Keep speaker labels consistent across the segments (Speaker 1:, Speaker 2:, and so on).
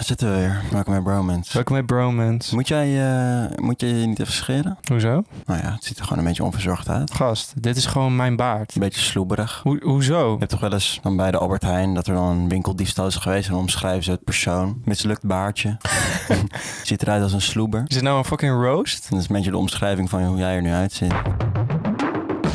Speaker 1: zitten we weer. Welkom bij Bromance.
Speaker 2: Welkom bij Bromance.
Speaker 1: Moet jij, eh, moet jij je niet even scheren?
Speaker 2: Hoezo?
Speaker 1: Nou ja, het ziet er gewoon een beetje onverzorgd uit.
Speaker 2: Gast, dit is gewoon mijn baard.
Speaker 1: Een beetje sloeberig.
Speaker 2: Hoe- hoezo?
Speaker 1: Je hebt toch wel eens dan bij de Albert Heijn dat er dan een winkeldiefstal is geweest en dan omschrijven ze het persoon. Mislukt baardje. ziet eruit als een sloeber.
Speaker 2: Is het nou een fucking roast?
Speaker 1: Dat is een beetje de omschrijving van hoe jij er nu uitziet.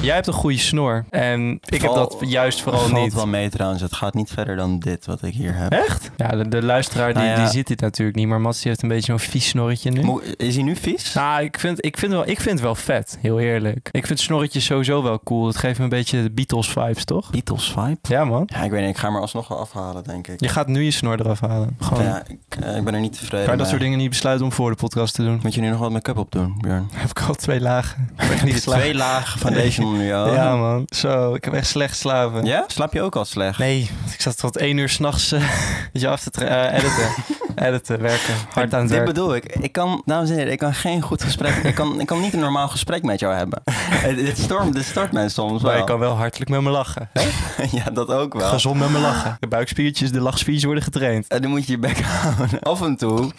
Speaker 2: Jij hebt een goede snor. En ik
Speaker 1: Val-
Speaker 2: heb dat juist vooral
Speaker 1: Valt
Speaker 2: niet.
Speaker 1: wel mee trouwens. Het gaat niet verder dan dit wat ik hier heb.
Speaker 2: Echt? Ja, de, de luisteraar die,
Speaker 1: Nou ja.
Speaker 2: die ziet dit natuurlijk niet. Maar Mats die heeft een beetje zo'n vies snorretje nu.
Speaker 1: Moe- Is hij nu vies?
Speaker 2: Nou, ik vind, ik, vind wel, ik vind het wel vet. Heel eerlijk. Ik vind snorretjes sowieso wel cool. Het geeft me een beetje de Beatles vibes, toch?
Speaker 1: Beatles vibe?
Speaker 2: Ja, man.
Speaker 1: Ja, ik weet niet. Ik ga hem er alsnog wel afhalen, denk ik.
Speaker 2: Je gaat nu je snor eraf halen. Gewoon.
Speaker 1: Ja, ik, eh, ik ben er niet tevreden
Speaker 2: Kan je dat
Speaker 1: mee.
Speaker 2: soort dingen niet besluiten om voor de podcast te doen?
Speaker 1: Moet je nu nog wat make-up op doen, Björn?
Speaker 2: Heb ik al twee lagen. Ik heb echt niet geslapen.
Speaker 1: Twee lagen foundation onder je ogen.
Speaker 2: Ja, man. Zo, ik heb echt slecht slapen.
Speaker 1: Ja? Slaap je ook al slecht?
Speaker 2: Nee, ik zat tot één uur s'nachts je af te tra- eh, editen. editen, werken. Hard aan het
Speaker 1: Dit
Speaker 2: werk.
Speaker 1: bedoel ik. Ik kan, dames en heren, ik kan geen goed gesprek. ik, kan, ik kan niet een normaal gesprek met jou hebben. Eh, dit, storm, dit stort mij soms wel.
Speaker 2: Maar ik kan wel hartelijk met me lachen.
Speaker 1: ja, dat ook wel.
Speaker 2: Gezond met me lachen. De buikspiertjes, de lachspiertjes worden getraind.
Speaker 1: En dan moet je je bek houden. Af en toe.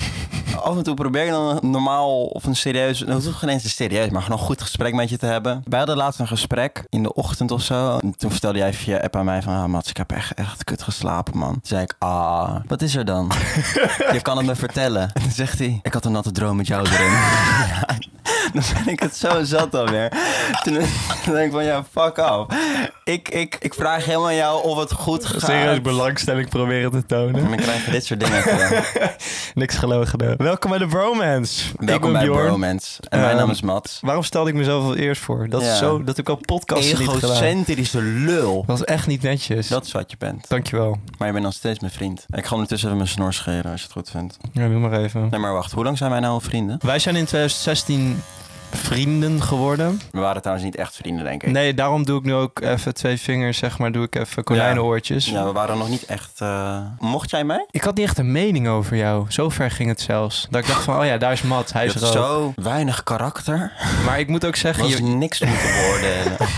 Speaker 1: Af en toe probeer je dan een normaal of een serieus. nou, Het hoeft geen eens een serieus, maar gewoon een goed gesprek met je te hebben. Wij hadden laatst een gesprek in de ochtend of zo. En toen vertelde jij via app aan mij van: ah, Mats, ik heb echt, echt kut geslapen, man. Toen zei ik: Ah, wat is er dan? je kan het me vertellen. En toen zegt hij: Ik had een natte droom met jou erin. Ja, Dan ben ik het zo zat alweer. Toen toen denk ik van, ja, fuck af. Ik, ik, ik vraag helemaal aan jou of het goed gaat.
Speaker 2: Serieus belangstelling proberen te
Speaker 1: En
Speaker 2: tonen.
Speaker 1: dan krijg je dit soort dingen gedaan.
Speaker 2: Niks gelogen. Welkom bij de Bromance. ik ben
Speaker 1: Welkom bij
Speaker 2: Bjorn.
Speaker 1: Bromance. En mijn
Speaker 2: Ehm,
Speaker 1: naam is Mats.
Speaker 2: Waarom stelde ik mezelf al eerst voor? Dat,
Speaker 1: Ja.
Speaker 2: is zo, dat heb ik al podcasten niet gedaan.
Speaker 1: Egocentrische lul.
Speaker 2: Dat is echt niet netjes.
Speaker 1: Dat is wat je bent.
Speaker 2: Dankjewel.
Speaker 1: Maar je bent nog steeds mijn vriend. Ik ga ondertussen even mijn snor scheren als je het goed vindt.
Speaker 2: Ja, doe maar even.
Speaker 1: Nee, maar wacht. Hoe lang zijn wij nou al vrienden?
Speaker 2: Wij zijn in 2016 vrienden geworden.
Speaker 1: We waren trouwens niet echt vrienden, denk ik.
Speaker 2: Nee, daarom doe ik nu ook even twee vingers, zeg maar, doe ik even konijnenoortjes.
Speaker 1: Ja, we waren nog niet echt... eh, Mocht jij mij?
Speaker 2: Ik had niet echt een mening over jou. Zo ver ging het zelfs. Dat ik dacht van, oh ja, daar is Mat, hij
Speaker 1: Je
Speaker 2: is
Speaker 1: hebt
Speaker 2: rood.
Speaker 1: zo weinig karakter.
Speaker 2: Maar ik moet ook zeggen,
Speaker 1: Was
Speaker 2: je,
Speaker 1: niks moeten beoordelen.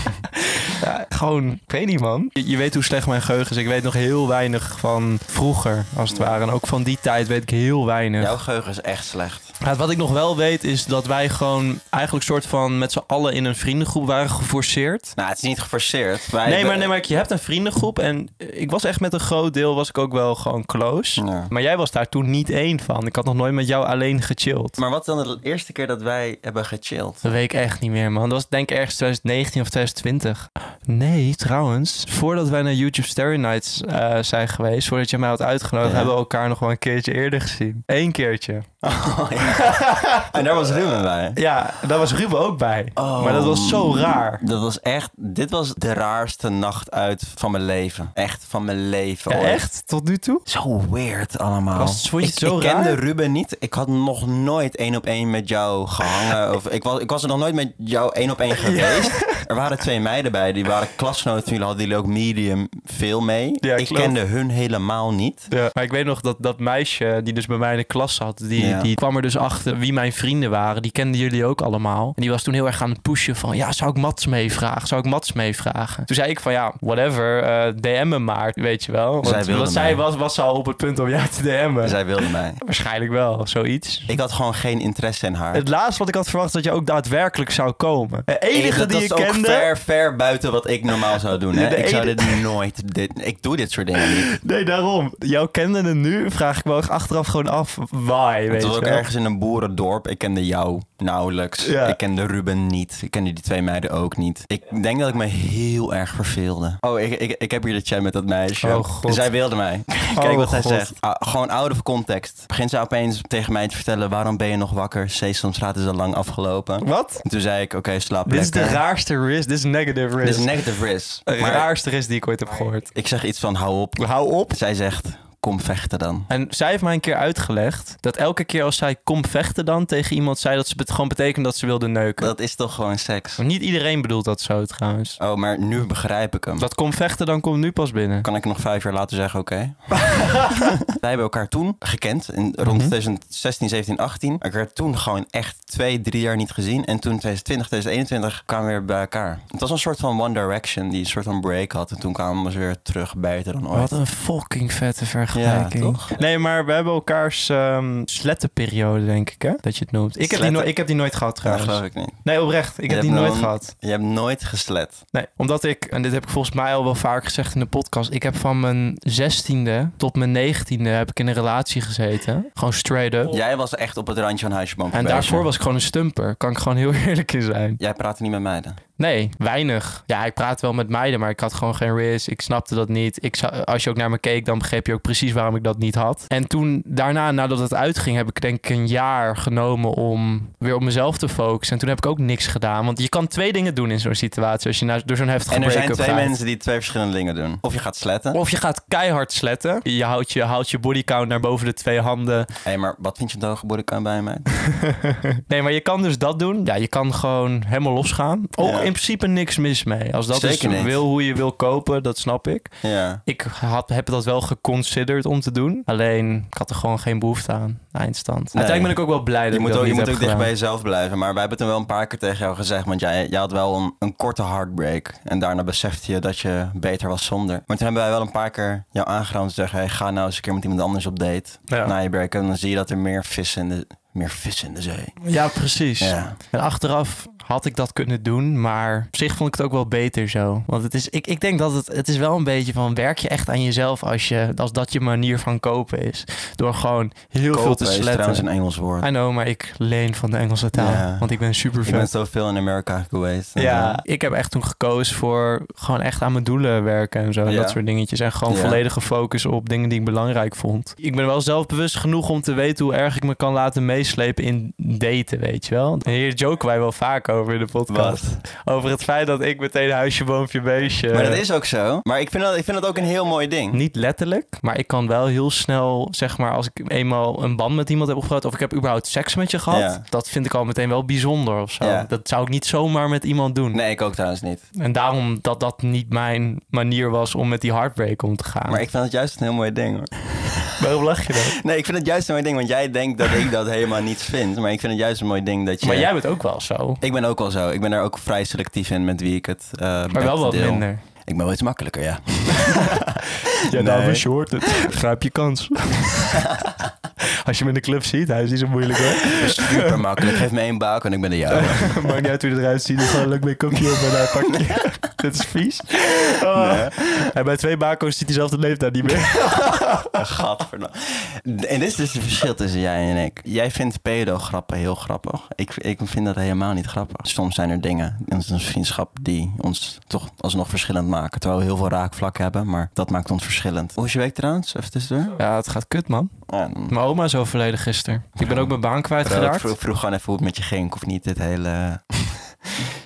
Speaker 2: ja, gewoon, ik weet niet man. Je, je weet hoe slecht mijn geheugen is. Ik weet nog heel weinig van vroeger, als het
Speaker 1: Ja.
Speaker 2: ware. En ook van die tijd weet ik heel weinig.
Speaker 1: Jouw geheugen is echt slecht.
Speaker 2: Maar wat ik nog wel weet, is dat wij gewoon eigenlijk soort van met z'n allen in een vriendengroep waren geforceerd.
Speaker 1: Nou, het is niet geforceerd. Wij
Speaker 2: Nee, maar, nee, maar je hebt een vriendengroep en ik was echt met een groot deel was ik ook wel gewoon close.
Speaker 1: Ja.
Speaker 2: Maar jij was daar toen niet één van. Ik had nog nooit met jou alleen gechilled.
Speaker 1: Maar wat dan de eerste keer dat wij hebben gechilled?
Speaker 2: Dat weet ik echt niet meer, man. Dat was denk ik ergens 2019 of 2020. Nee, trouwens. Voordat wij naar YouTube Story Nights eh, zijn geweest, voordat je mij had uitgenodigd,
Speaker 1: Ja.
Speaker 2: hebben we elkaar nog wel een keertje eerder gezien. Eén keertje.
Speaker 1: Oh, ja. en daar was Ruben bij.
Speaker 2: Ja, daar was Ruben ook bij.
Speaker 1: Oh.
Speaker 2: Maar dat was zo raar.
Speaker 1: Dat was echt, dit was de raarste nacht uit van mijn leven. Echt van mijn leven.
Speaker 2: Ja,
Speaker 1: hoor.
Speaker 2: echt? Tot nu toe?
Speaker 1: Zo weird allemaal.
Speaker 2: Was het- vond je
Speaker 1: ik,
Speaker 2: het zo
Speaker 1: ik
Speaker 2: raar?
Speaker 1: kende Ruben niet. Ik had nog nooit één op één met jou gehangen. of, ik, was, ik was er nog nooit met jou één op één geweest. Er waren twee meiden bij. Die waren klasgenoten. van Jullie hadden jullie ook medium veel mee.
Speaker 2: Ja,
Speaker 1: ik
Speaker 2: klopt.
Speaker 1: kende hun helemaal niet.
Speaker 2: Ja. Maar ik weet nog dat dat meisje die dus bij mij in de klas zat, die,
Speaker 1: Ja.
Speaker 2: die kwam er dus achter wie mijn vrienden waren. Die kenden jullie ook allemaal. En die was toen heel erg aan het pushen van, ja, zou ik Mats meevragen? Zou ik Mats meevragen? Toen zei ik van, ja, whatever, eh, DM me maar, weet je wel. Want,
Speaker 1: Zij wilde
Speaker 2: want zij
Speaker 1: mij.
Speaker 2: was, was al op het punt om jou te DM'en.
Speaker 1: Zij wilden mij.
Speaker 2: Waarschijnlijk wel, zoiets.
Speaker 1: Ik had gewoon geen interesse in haar.
Speaker 2: Het laatste wat ik had verwacht, dat je ook daadwerkelijk zou komen. De enige
Speaker 1: dat dat
Speaker 2: die je
Speaker 1: is ook
Speaker 2: kende...
Speaker 1: ver, ver buiten wat ik normaal zou doen. Hè?
Speaker 2: De
Speaker 1: Ik zou
Speaker 2: ene-
Speaker 1: dit nooit... Dit, ik doe dit soort dingen niet.
Speaker 2: Nee, daarom. Jou kende het nu, vraag ik me ook achteraf gewoon af, why, weet
Speaker 1: Het
Speaker 2: je
Speaker 1: was ook
Speaker 2: wel.
Speaker 1: ergens in een boerendorp. Ik kende jou nauwelijks.
Speaker 2: Ja.
Speaker 1: Ik kende Ruben niet. Ik kende die twee meiden ook niet. Ik denk dat ik me heel erg verveelde. Oh, ik, ik, ik heb hier de chat met dat meisje.
Speaker 2: Oh, God.
Speaker 1: Zij wilde mij. Kijk
Speaker 2: Oh,
Speaker 1: wat zij
Speaker 2: God.
Speaker 1: zegt. Ah, gewoon out of context. Begint zij opeens tegen mij te vertellen... waarom ben je nog wakker? Sesamstraat is al lang afgelopen.
Speaker 2: Wat?
Speaker 1: En toen zei ik, oké, slaap
Speaker 2: Dit is
Speaker 1: lekker.
Speaker 2: de raarste risk. Dit is negative
Speaker 1: Dit
Speaker 2: risk.
Speaker 1: is negative risk. Oh,
Speaker 2: de
Speaker 1: Maar
Speaker 2: raarste risk die ik ooit heb gehoord.
Speaker 1: ik zeg iets van, hou op.
Speaker 2: Hou op.
Speaker 1: Zij zegt, kom vechten dan.
Speaker 2: En zij heeft mij een keer uitgelegd dat elke keer als zij kom vechten dan tegen iemand zei dat ze het gewoon betekent dat ze wilde neuken.
Speaker 1: Dat is toch gewoon seks?
Speaker 2: Maar Niet iedereen bedoelt dat zo trouwens.
Speaker 1: Oh, maar nu begrijp ik hem.
Speaker 2: Dat kom vechten dan komt nu pas binnen.
Speaker 1: Kan ik nog vijf jaar later zeggen, oké. Wij hebben elkaar toen gekend, in, rond
Speaker 2: Mhm.
Speaker 1: 2016, 17, 18. Ik werd toen gewoon echt twee, drie jaar niet gezien. En toen 2020, 2021 kwamen we weer bij elkaar. Het was een soort van One Direction, die een soort van break had. En toen kwamen we weer terug beter dan ooit.
Speaker 2: Wat een fucking vette vergelijking.
Speaker 1: Ja, toch?
Speaker 2: Nee, maar we hebben elkaars ehm slettenperiode, denk ik, hè? Dat je het noemt. Ik heb, die
Speaker 1: Sletten.
Speaker 2: nooit- ik heb die nooit gehad,
Speaker 1: Dat
Speaker 2: trouwens.
Speaker 1: geloof ik niet.
Speaker 2: nee, oprecht. Ik heb die nooit gehad.
Speaker 1: Je hebt nooit geslet.
Speaker 2: Nee, omdat ik, en dit heb ik volgens mij al wel vaak gezegd in de podcast, ik heb van mijn 16e tot mijn 19e heb ik in een relatie gezeten. Gewoon straight up.
Speaker 1: Jij was echt op het randje van huisje
Speaker 2: En daarvoor was ik gewoon een stumper. Kan ik gewoon heel eerlijk in zijn.
Speaker 1: Jij praatte niet met meiden.
Speaker 2: Nee, weinig. Ja, ik praat wel met meiden, maar ik had gewoon geen ris. Ik snapte dat niet. Ik zou, als je ook naar me keek, dan begreep je ook precies waarom ik dat niet had. En toen, daarna, nadat het uitging, heb ik denk ik een jaar genomen om weer op mezelf te focussen. En toen heb ik ook niks gedaan. Want je kan twee dingen doen in zo'n situatie als je nou door zo'n heftige
Speaker 1: En er
Speaker 2: break-up
Speaker 1: zijn twee
Speaker 2: gaat.
Speaker 1: mensen die twee verschillende dingen doen. Of je gaat sletten.
Speaker 2: Of je gaat keihard sletten. Je houdt je, haalt je bodycount naar boven de twee handen.
Speaker 1: Hé, maar wat vind je een droge bodycount bij mij?
Speaker 2: Nee, maar je kan dus dat doen. Ja, je kan gewoon helemaal losgaan. Ook
Speaker 1: Ja.
Speaker 2: in principe niks mis mee. Als dat
Speaker 1: Zeker
Speaker 2: is
Speaker 1: niet.
Speaker 2: wil hoe je wil kopen, dat snap ik.
Speaker 1: Ja.
Speaker 2: Ik had, heb dat wel geconsiderd om te doen. Alleen, ik had er gewoon geen behoefte aan. Eindstand. Uiteindelijk ben ik ook wel blij dat
Speaker 1: Je
Speaker 2: ik
Speaker 1: moet
Speaker 2: dat
Speaker 1: ook, je
Speaker 2: niet
Speaker 1: moet
Speaker 2: heb
Speaker 1: ook dicht bij
Speaker 2: gedaan.
Speaker 1: jezelf blijven. Maar wij hebben het wel een paar keer tegen jou gezegd. Want jij, jij had wel een, een korte heartbreak. En daarna besefte je dat je beter was zonder. Maar toen hebben wij wel een paar keer jou aangeraden te zeggen... Hey, ga nou eens een keer met iemand anders op date.
Speaker 2: Ja.
Speaker 1: Na je break. En dan zie je dat er meer vissen in de, meer vissen in de zee.
Speaker 2: Ja, precies.
Speaker 1: Ja.
Speaker 2: En achteraf had ik dat kunnen doen, maar op zich vond ik het ook wel beter zo. Want het is, ik, ik denk dat het, het is wel een beetje van werk je echt aan jezelf als, je, als dat je manier van kopen is. Door gewoon heel veel te
Speaker 1: Kopen is trouwens
Speaker 2: sletten.
Speaker 1: een Engels woord.
Speaker 2: I know, maar ik leen van de Engelse taal,
Speaker 1: Ja.
Speaker 2: want ik ben super
Speaker 1: Ik ben
Speaker 2: fan.
Speaker 1: zoveel in Amerika geweest.
Speaker 2: Ja, ik heb echt toen gekozen voor gewoon echt aan mijn doelen werken en zo. en
Speaker 1: Ja.
Speaker 2: Dat soort dingetjes. En gewoon
Speaker 1: Ja.
Speaker 2: volledige focus op dingen die ik belangrijk vond. Ik ben wel zelfbewust genoeg om te weten hoe erg ik me kan laten meeslepen in daten, weet je wel. En hier joken wij wel vaak over in de podcast.
Speaker 1: Wat?
Speaker 2: Over het feit dat ik meteen huisje, boompje, beestje...
Speaker 1: Maar dat is ook zo. Maar ik vind dat, ik vind dat ook een heel mooi ding.
Speaker 2: Niet letterlijk, maar ik kan wel heel snel, zeg maar, als ik eenmaal een band met iemand heb opgebouwd of ik heb überhaupt seks met je gehad,
Speaker 1: Ja.
Speaker 2: dat vind ik al meteen wel bijzonder of zo.
Speaker 1: Ja.
Speaker 2: Dat zou ik niet zomaar met iemand doen.
Speaker 1: Nee, ik ook trouwens niet.
Speaker 2: En daarom dat dat niet mijn manier was om met die heartbreak om te gaan.
Speaker 1: Maar ik vind dat juist een heel mooi ding hoor.
Speaker 2: Waarom lach je dan?
Speaker 1: Nee, ik vind het juist een mooi ding, want jij denkt dat ik dat helemaal niet vind. Maar ik vind het juist een mooi ding dat je...
Speaker 2: Maar jij bent ook wel zo.
Speaker 1: Ik ben ook wel zo. Ik ben daar ook vrij selectief in met wie ik het eh
Speaker 2: Maar wel
Speaker 1: met
Speaker 2: wat
Speaker 1: deel.
Speaker 2: minder.
Speaker 1: Ik ben wel iets makkelijker, ja.
Speaker 2: Ja,
Speaker 1: Nee. daarom is
Speaker 2: short het. Grijp je kans. Als je hem in de club ziet, hij is niet zo moeilijk hoor.
Speaker 1: Super makkelijk. Geef me één buik en ik ben de jouwe.
Speaker 2: Maakt niet uit hoe hij eruit ziet. Gewoon een leuk make-upje op en hij pakt je. Dit is vies. En bij twee bako's ziet hij zelf de leeftijd niet meer.
Speaker 1: Gadverdamme. En dit is dus het verschil tussen jij en ik. Jij vindt pedo-grappen heel grappig. Ik, ik vind dat helemaal niet grappig. Soms zijn er dingen in onze vriendschap die ons toch alsnog verschillend maken. Terwijl we heel veel raakvlak hebben, maar dat maakt ons verschillend. Hoe is je week trouwens? Even tussendoor.
Speaker 2: Ja, het gaat kut man.
Speaker 1: Ja, dan-
Speaker 2: Mijn oma is overleden gisteren. Ik ben ook mijn baan
Speaker 1: Terwijl ik
Speaker 2: kwijtgeraakt.
Speaker 1: vroeg, vroeg gewoon even hoe het met je ging. Ik hoef niet dit hele...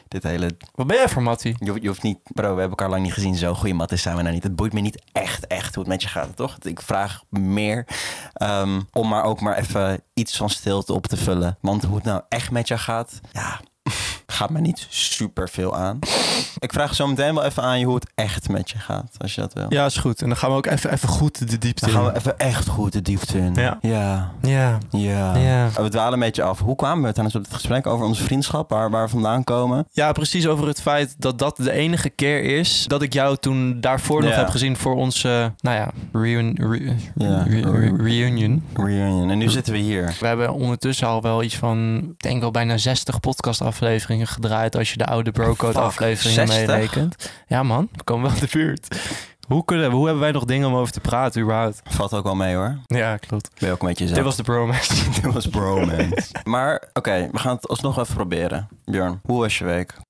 Speaker 1: dit hele...
Speaker 2: Wat ben jij voor Mattie?
Speaker 1: Je, hoeft- je hoeft niet... Bro, we hebben elkaar lang niet gezien. Zo goede mat is zijn we nou niet. Het boeit me niet echt, echt hoe het met je gaat, toch? Ik vraag meer ehm, om maar ook maar even iets van stilte op te vullen. Want hoe het nou echt met je gaat, ja... Gaat me niet super veel aan. Ik vraag zo meteen wel even aan je hoe het echt met je gaat, als je dat wil.
Speaker 2: Ja, is goed. En dan gaan we ook even, even goed de diepte
Speaker 1: Dan gaan we even echt goed de diepte in.
Speaker 2: Ja.
Speaker 1: Ja.
Speaker 2: Ja.
Speaker 1: Ja.
Speaker 2: Ja.
Speaker 1: We dwalen een beetje af. Hoe kwamen we trouwens op dit gesprek over onze vriendschap? Waar, waar we vandaan komen?
Speaker 2: ja, precies over het feit dat dat de enige keer is dat ik jou toen daarvoor nog
Speaker 1: Ja.
Speaker 2: heb gezien voor onze, nou ja, reun- re-
Speaker 1: Ja.
Speaker 2: re- re- reunion.
Speaker 1: Reunion. En nu zitten we hier.
Speaker 2: We hebben ondertussen al wel iets van, ik denk wel bijna 60 podcastafleveringen gedraaid als je de oude Brocode
Speaker 1: Fuck,
Speaker 2: afleveringen
Speaker 1: 60?
Speaker 2: meerekent. Ja man, we komen wel in de buurt. Hoe, kunnen, we- hoe hebben wij nog dingen om over te praten überhaupt?
Speaker 1: Valt ook wel mee hoor.
Speaker 2: Ja, klopt.
Speaker 1: Ben je ook een beetje
Speaker 2: Dit
Speaker 1: zelf.
Speaker 2: was de bromance.
Speaker 1: Dit was bromance. maar oké, we gaan het alsnog even proberen. Björn, hoe was je week?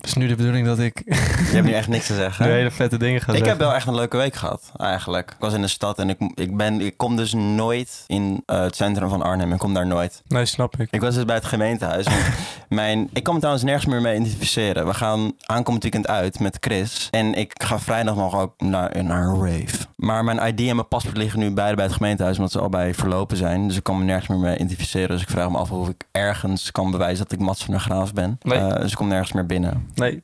Speaker 2: Het is nu de bedoeling dat ik
Speaker 1: Je hebt nu echt niks te zeggen.
Speaker 2: nu hele vette dingen ga
Speaker 1: Ik
Speaker 2: zeggen.
Speaker 1: heb wel echt een leuke week gehad, eigenlijk. Ik was in de stad en ik, ik, ben, ik kom dus nooit in eh, het centrum van Arnhem. Ik kom daar nooit.
Speaker 2: Nee, snap ik.
Speaker 1: Ik was dus bij het gemeentehuis. want mijn, ik kom trouwens nergens meer mee identificeren. We gaan aankomend weekend uit met Chris. En ik ga vrijdag nog ook naar, naar een rave. Maar mijn ID en mijn paspoort liggen nu beide bij het gemeentehuis. Omdat ze allebei verlopen zijn. Dus ik kan me nergens meer mee identificeren. Dus ik vraag me af of ik ergens kan bewijzen dat ik Mats van der Graaf ben.
Speaker 2: Nee.
Speaker 1: Eh, dus ik kom nergens meer binnen.
Speaker 2: Nee,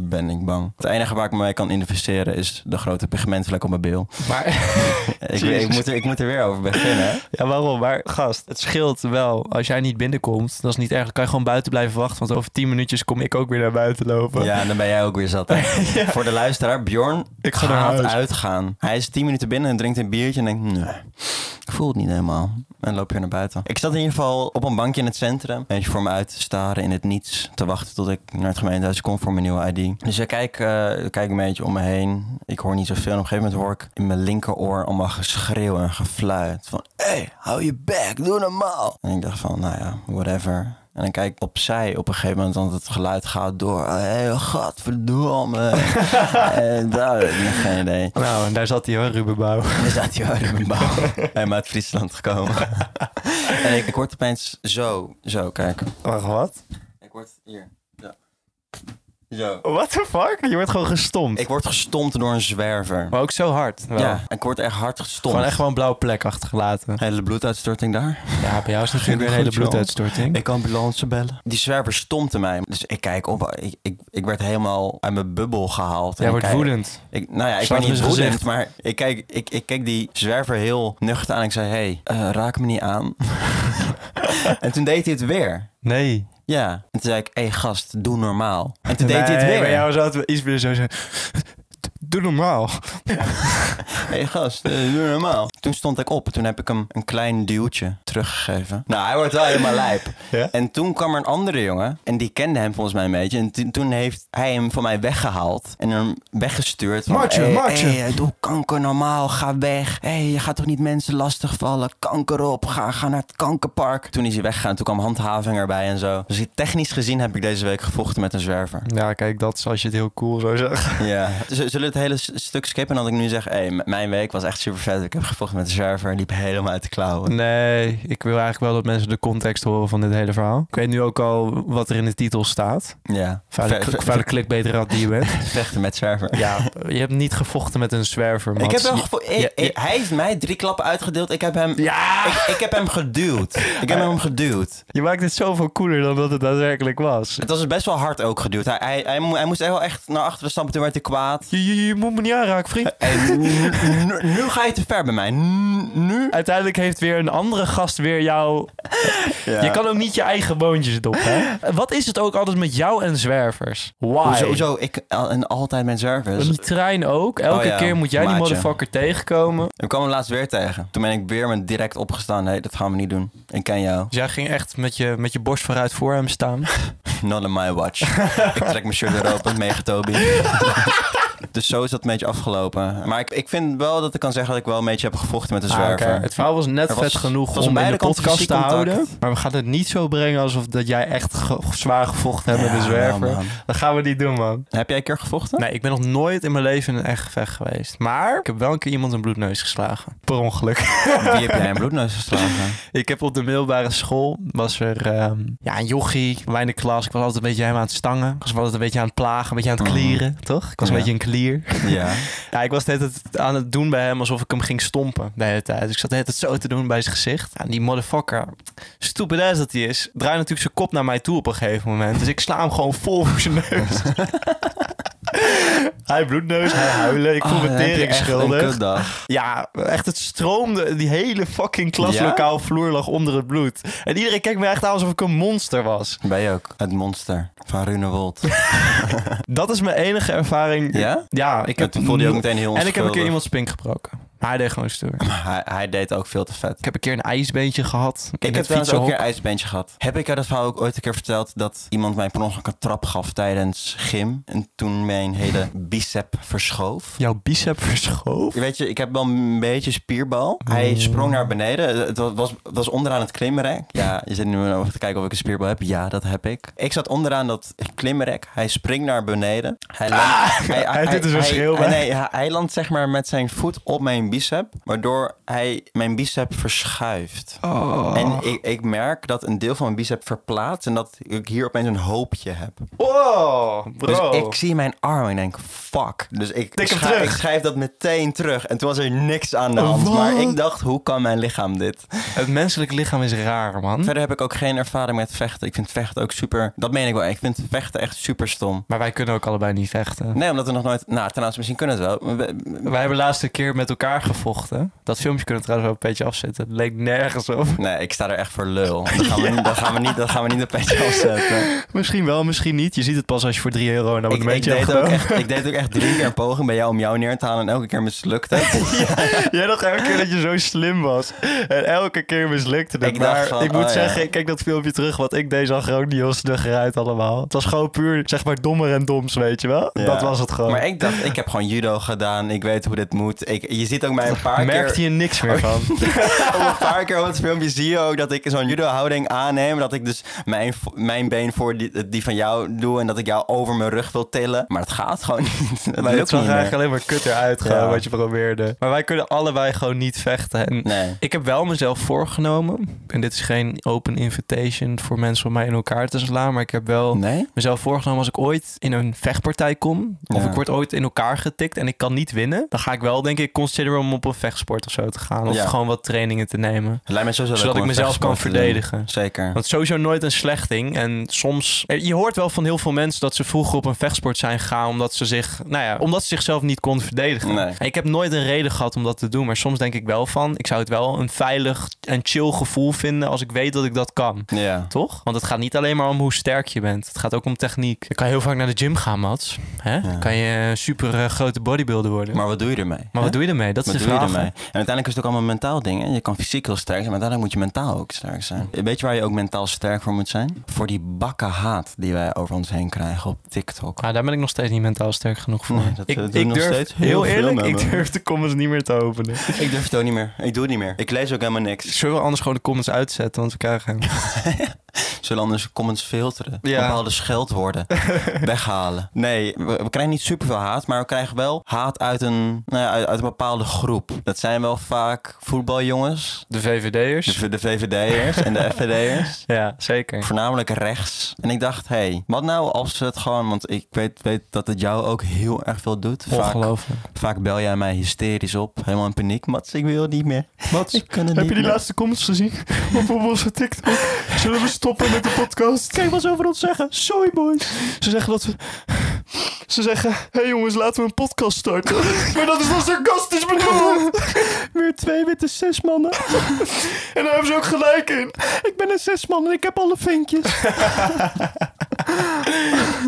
Speaker 1: ben ik bang. Het enige waar ik mij kan investeren is de grote pigmentvlek op mijn bil.
Speaker 2: Maar
Speaker 1: ik, ik, moet er, ik moet er weer over beginnen. hè?
Speaker 2: ja, waarom? Maar gast, het scheelt wel. Als jij niet binnenkomt, dat is niet erg. Dan kan je gewoon buiten blijven wachten. Want over 10 minuutjes kom ik ook weer naar buiten lopen.
Speaker 1: Ja, en dan ben jij ook weer zat. hè? Voor de luisteraar, Bjorn
Speaker 2: Ik ga naar
Speaker 1: gaat
Speaker 2: huis.
Speaker 1: uitgaan. Hij is 10 minuten binnen en drinkt een biertje en denkt, nee, ik voel het niet helemaal. En loop weer naar buiten. Ik zat in ieder geval op een bankje in het centrum. Een beetje voor me uit te staren in het niets. Te wachten tot ik naar het gemeentehuis kon voor mijn nieuwe ID. Dus ik kijk, eh, ik kijk een beetje om me heen. Ik hoor niet zoveel. En op een gegeven moment hoor ik in mijn linkeroor allemaal geschreeuw en gefluit. Van, hé, hey, hou je bek, doe normaal. En ik dacht van, nou ja, whatever. En dan kijk ik opzij op een gegeven moment, want het geluid gaat door. Hé, hey, godverdomme. en Eh, daar heb ik geen idee.
Speaker 2: Nou, en daar zat hij hoor, Ruben Bouw.
Speaker 1: Dan staat hij uit mijn bouw. Hij uit Friesland gekomen. en ik, ik word opeens zo, zo, kijk.
Speaker 2: Wacht, wat?
Speaker 1: Ik word hier, zo. Zo.
Speaker 2: What the fuck? Je wordt gewoon gestompt.
Speaker 1: Ik word gestompt door een zwerver.
Speaker 2: Maar ook zo hard. Oh, wel.
Speaker 1: Ja, ik word echt hard gestompt.
Speaker 2: Gewoon echt gewoon een blauwe plek achtergelaten.
Speaker 1: Hele bloeduitstorting daar.
Speaker 2: Ja, bij jou is natuurlijk weer een hele
Speaker 1: Goed, joh.
Speaker 2: bloeduitstorting.
Speaker 1: Ik kan ambulance bellen. Die zwerver stompte mij. Dus ik kijk op. Ik, ik, ik werd helemaal uit mijn bubbel gehaald. En
Speaker 2: Jij
Speaker 1: ik
Speaker 2: wordt
Speaker 1: kijk-
Speaker 2: woedend.
Speaker 1: Ik, nou ja, ik
Speaker 2: Slag
Speaker 1: ben
Speaker 2: hem in
Speaker 1: niet woedend,
Speaker 2: zijn gezicht.
Speaker 1: maar ik kijk, ik, ik kijk die zwerver heel nuchter aan. Ik zei, hey, eh, raak me niet aan. en toen deed hij het weer.
Speaker 2: Nee.
Speaker 1: Ja. En toen zei ik, hey gast, doe normaal. En toen deed hij het weer.
Speaker 2: Bij jou zou het iets meer zo zijn. Doe normaal.
Speaker 1: hey gast, eh, doe normaal. Toen stond ik op. Toen heb ik hem een klein duwtje teruggegeven. Nou, hij wordt wel helemaal lijp.
Speaker 2: Ja?
Speaker 1: En toen kwam er een andere jongen. En die kende hem volgens mij een beetje. En toen- toen heeft hij hem van mij weggehaald. En hem weggestuurd. van,
Speaker 2: Maatje,
Speaker 1: hey,
Speaker 2: maatje."
Speaker 1: hey, eh, doe kanker normaal. Ga weg. Hé, hey, je gaat toch niet mensen lastigvallen. Kanker op. Ga, ga naar het kankerpark. Toen is hij weggegaan. Toen kwam handhaving erbij en zo. Dus technisch gezien heb ik deze week gevochten met een zwerver.
Speaker 2: Ja, kijk, dat is als je het heel cool zo zegt.
Speaker 1: Ja. Z- Zullen we het hele s- stuk skippen? En dat ik nu zeg, hey, m- mijn week was echt super vet. Ik heb gevochten met de server en liep helemaal uit de klauwen.
Speaker 2: Nee, ik wil eigenlijk wel dat mensen de context horen van dit hele verhaal. Ik weet nu ook al wat er in de titel staat.
Speaker 1: Ja.
Speaker 2: Vuile,
Speaker 1: Ver-
Speaker 2: kl-
Speaker 1: ver-
Speaker 2: vuile clickbait-rat die je bent.
Speaker 1: Vechten met server.
Speaker 2: ja, je hebt niet gevochten met een zwerver, man.
Speaker 1: Ik heb wel gevo- ik-
Speaker 2: Ja, ja.
Speaker 1: ik- Hij heeft mij drie klappen uitgedeeld. Ik heb hem...
Speaker 2: Ja!
Speaker 1: Ik, ik heb hem geduwd. Ik heb hem geduwd.
Speaker 2: Je maakt het zoveel cooler dan dat het daadwerkelijk was.
Speaker 1: Het was best wel hard ook geduwd. Hij, hij, hij, mo- hij moest echt wel echt naar achteren stampen. Toen werd hij kwaad.
Speaker 2: Je, je, je moet me niet aanraken, vriend.
Speaker 1: En nu, nu- nu ga je te ver bij mij. Nu- Nu.
Speaker 2: Uiteindelijk heeft weer een andere gast weer jou... Je kan ook niet je eigen boontjes doppen, hè? Wat is het ook altijd met jou en zwervers? Why?
Speaker 1: Hoezo, hoezo? Ik al- en altijd mijn service.
Speaker 2: Die trein ook. Elke
Speaker 1: Oh ja,
Speaker 2: keer moet jij die
Speaker 1: maatje.
Speaker 2: motherfucker tegenkomen.
Speaker 1: Ik kwam hem laatst weer tegen. Toen ben ik weer met direct opgestaan. Nee, dat gaan we niet doen. Ik ken jou.
Speaker 2: Dus jij ging echt met je, met je borst vooruit voor hem staan.
Speaker 1: Not on my watch. ik trek mijn shirt weer open. Mega Toby. dus zo is dat een beetje afgelopen. Maar ik, ik vind wel dat ik kan zeggen dat ik wel een beetje heb gevochten met de
Speaker 2: Ah,
Speaker 1: zwerver.
Speaker 2: oké. Het verhaal was net
Speaker 1: Er was-
Speaker 2: vet genoeg
Speaker 1: was aan
Speaker 2: om in
Speaker 1: beide
Speaker 2: de
Speaker 1: kanten
Speaker 2: podcast
Speaker 1: fysiek
Speaker 2: te
Speaker 1: contact.
Speaker 2: houden. Maar we gaan het niet zo brengen alsof dat jij echt ge- zwaar gevochten hebt met de
Speaker 1: Ja,
Speaker 2: zwerver.
Speaker 1: man.
Speaker 2: dat gaan we niet doen, man.
Speaker 1: Heb jij een keer gevochten?
Speaker 2: Nee, ik ben nog nooit in mijn leven in een echt gevecht geweest. Maar ik heb wel een keer iemand een bloedneus geslagen. Per ongeluk.
Speaker 1: Wie heb jij een bloedneus geslagen?
Speaker 2: Ik heb op de middelbare school, was er ehm, ja, een jochie, mij in de klas. Ik was altijd een beetje helemaal aan het stangen. Ik was altijd een beetje aan het plagen, een beetje aan het
Speaker 1: Mhm.
Speaker 2: klieren, toch? Ik was een
Speaker 1: Ja.
Speaker 2: beetje een klier.
Speaker 1: ja.
Speaker 2: Ja, ik was de hele tijd aan het doen bij hem alsof ik hem ging stompen de hele tijd. Dus ik zat de hele tijd zo te doen bij zijn gezicht. Ja, die motherfucker, stupid ass dat hij is, draait natuurlijk zijn kop naar mij toe op een gegeven moment. Dus ik sla hem gewoon vol voor zijn neus. hij bloedneus, hij huilen, ik voel
Speaker 1: Oh,
Speaker 2: me
Speaker 1: dan heb je
Speaker 2: tering
Speaker 1: echt Een
Speaker 2: schuldig.
Speaker 1: kutdag.
Speaker 2: Ja, echt het stroomde, die hele fucking klaslokaal vloer lag onder het bloed. En iedereen keek me echt aan alsof ik een monster was.
Speaker 1: Ben je ook het monster van Runewold?
Speaker 2: Dat is mijn enige ervaring.
Speaker 1: ja?
Speaker 2: Ja, ik heb...
Speaker 1: Toen voelde je ook meteen heel
Speaker 2: en ik heb een keer
Speaker 1: onschuldig.
Speaker 2: iemand spink gebroken. Maar hij deed gewoon stoer.
Speaker 1: Hij, hij deed ook veel te vet.
Speaker 2: Ik heb een keer een ijsbeentje gehad. in
Speaker 1: Ik heb
Speaker 2: het
Speaker 1: trouwens ook een keer
Speaker 2: fietsenhok.
Speaker 1: ijsbeentje gehad. Heb ik jou dat verhaal ook ooit een keer verteld dat iemand mij per ongeluk een trap gaf tijdens gym en toen mijn hele bicep verschoof?
Speaker 2: Jouw bicep verschoof.
Speaker 1: Weet je, ik heb wel een beetje spierbal. Hij sprong naar beneden. Het wa- was, was onderaan het klimrek. Ja, je zit nu over te kijken of ik een spierbal heb. Ja, dat heb ik. Ik zat onderaan dat klimrek. Hij springt naar beneden. Ah! Hij landt,
Speaker 2: Ah! hij doet dus een schreeuw
Speaker 1: hij-
Speaker 2: bij.
Speaker 1: Nee, hij hij landt zeg maar met zijn voet op mijn bicep, waardoor hij mijn bicep verschuift.
Speaker 2: Oh.
Speaker 1: En ik, ik merk dat een deel van mijn bicep verplaatst en dat ik hier opeens een hoopje heb.
Speaker 2: Wow, bro.
Speaker 1: Dus ik zie mijn arm en ik denk, fuck. Dus ik,
Speaker 2: Tik hem
Speaker 1: schrijf,
Speaker 2: terug.
Speaker 1: ik schrijf dat meteen terug. En toen was er niks aan de hand.
Speaker 2: Wat? Hm?
Speaker 1: Maar ik dacht, hoe kan mijn lichaam dit?
Speaker 2: Het menselijk lichaam is raar, man.
Speaker 1: Verder heb ik ook geen ervaring met vechten. Ik vind vechten ook super... Dat meen ik wel. Ik vind vechten echt super stom.
Speaker 2: Maar wij kunnen ook allebei niet vechten.
Speaker 1: Nee, omdat we nog nooit... Nou, trouwens, misschien kunnen we het wel. We- we-
Speaker 2: Wij hebben laatst een keer met elkaar gevochten. Dat filmpje kunnen we trouwens wel een beetje afzetten. Het leek nergens op.
Speaker 1: Nee, ik sta er echt voor lul. Dat gaan we, niet, dat gaan we, niet, dat gaan we niet op petje afzetten.
Speaker 2: Misschien wel, misschien niet. Je ziet het pas als je voor 3 euro
Speaker 1: Ik,
Speaker 2: een
Speaker 1: ik,
Speaker 2: abonnementje hebt
Speaker 1: deed ook
Speaker 2: genomen.
Speaker 1: echt, ik deed ook echt drie keer een poging bij jou om jou neer te halen. En elke keer mislukt het.
Speaker 2: Jij dacht elke keer dat je zo slim was. En elke keer mislukte het.
Speaker 1: Ik dacht
Speaker 2: maar
Speaker 1: van,
Speaker 2: ik moet
Speaker 1: oh ja.
Speaker 2: zeggen, ik kijk dat filmpje terug. Want ik deed zag er ook niet heel snugger uit allemaal. Het was gewoon puur, zeg maar, dommer en doms, weet je wel?
Speaker 1: Ja.
Speaker 2: Dat was het gewoon.
Speaker 1: Maar ik dacht, ik heb gewoon judo gedaan. Ik weet hoe dit moet. Ik, je ziet ook mij een paar keer... Oh,
Speaker 2: Merkte je niks meer van.
Speaker 1: Op een paar keer op het filmpje zie je ook dat ik zo'n judo-houding aanneem. Dat ik dus mijn, vo- mijn been voor die, die van jou doe. En dat ik jou over mijn rug wil tillen. Maar het gaat gewoon niet. Het
Speaker 2: Maar
Speaker 1: lukt
Speaker 2: het zag
Speaker 1: niet
Speaker 2: er
Speaker 1: meer.
Speaker 2: eigenlijk alleen maar kut eruit gewoon,
Speaker 1: Ja.
Speaker 2: wat je probeerde. Maar wij kunnen allebei gewoon niet vechten. En
Speaker 1: Nee.
Speaker 2: Ik heb wel mezelf voorgenomen. En dit is geen open invitation voor mensen om mij in elkaar te slaan. Maar ik heb wel
Speaker 1: Nee?
Speaker 2: mezelf voorgenomen als ik ooit in een vechtpartij kom. Of
Speaker 1: Ja.
Speaker 2: ik word ooit in elkaar getikt en ik kan niet winnen. Dan ga ik wel denk ik consideren om op een vechtsport of zo te gaan. Of
Speaker 1: Ja.
Speaker 2: gewoon wat trainingen te nemen.
Speaker 1: Het lijkt me sowieso leuk
Speaker 2: Zodat
Speaker 1: om
Speaker 2: ik
Speaker 1: een
Speaker 2: mezelf kan
Speaker 1: vechtsport te doen.
Speaker 2: verdedigen.
Speaker 1: Zeker.
Speaker 2: Want sowieso nooit een slechting. En soms... eh, Je hoort wel van heel veel mensen dat ze vroeger op een vechtsport zijn gegaan... omdat ze, zich, nou ja, omdat ze zichzelf niet konden verdedigen.
Speaker 1: Nee.
Speaker 2: En ik heb nooit een reden gehad om dat te doen. Maar soms denk ik wel van... ik zou het wel een veilig en chill gevoel vinden... als ik weet dat ik dat kan.
Speaker 1: Ja.
Speaker 2: Toch? Want het gaat niet alleen maar om hoe sterk je bent. Het gaat ook om techniek. Je kan heel vaak naar de gym gaan, Mats. Hè? Dan kan je een super eh, grote bodybuilder worden. Maar,
Speaker 1: Maar wat doe je ermee?
Speaker 2: wat doe je ermee? Dat is
Speaker 1: Wat
Speaker 2: de
Speaker 1: doe je
Speaker 2: vraag.
Speaker 1: ermee?
Speaker 2: hè?
Speaker 1: En uiteindelijk is het ook allemaal een mentaal ding. Hè? Je kan fysiek heel sterk zijn, maar uiteindelijk moet je mentaal ook sterk zijn. Weet je waar je ook mentaal sterk voor moet zijn? Voor die bakken haat die wij over ons heen krijgen op TikTok.
Speaker 2: Maar Nou, daar ben ik nog steeds niet mentaal sterk genoeg voor.
Speaker 1: Nee, dat,
Speaker 2: ik,
Speaker 1: eh, doen
Speaker 2: ik
Speaker 1: nog
Speaker 2: durf,
Speaker 1: steeds heel
Speaker 2: heel,
Speaker 1: veel
Speaker 2: eerlijk,
Speaker 1: mensen.
Speaker 2: ik durf de comments niet meer te openen.
Speaker 1: Ik durf het ook niet meer. Ik doe het niet meer. Ik lees ook helemaal niks.
Speaker 2: Zullen we anders gewoon de comments uitzetten, want we krijgen hem.
Speaker 1: Zullen anders comments filteren.
Speaker 2: Ja.
Speaker 1: Bepaalde scheldwoorden weghalen. Nee, we, we krijgen niet superveel haat, maar we krijgen wel haat uit een, nou ja, uit, uit een bepaalde groep. Dat zijn wel vaak voetbaljongens,
Speaker 2: De VVD'ers?
Speaker 1: de, de VVD'ers en de FVD'ers.
Speaker 2: Ja, zeker.
Speaker 1: Voornamelijk rechts. En ik dacht, hé, hey, wat nou als ze het gewoon... Want ik weet, weet dat het jou ook heel erg veel doet. Vaak,
Speaker 2: Ongelooflijk.
Speaker 1: vaak bel jij mij hysterisch op. Helemaal in paniek. Mats, ik wil niet meer.
Speaker 2: Mats,
Speaker 1: Ik kan het niet meer.
Speaker 2: laatste comments gezien op onze TikTok? Zullen we stoppen met de podcast? Kijk wat ze over ons zeggen. Sorry boys. Ze zeggen dat we... Ze zeggen, hé hey jongens, laten we een podcast starten. maar dat is dan sarcastisch bedoeld. Weer twee witte zesmannen. en daar hebben ze ook gelijk in. Ik ben een zesman en ik heb alle vinkjes.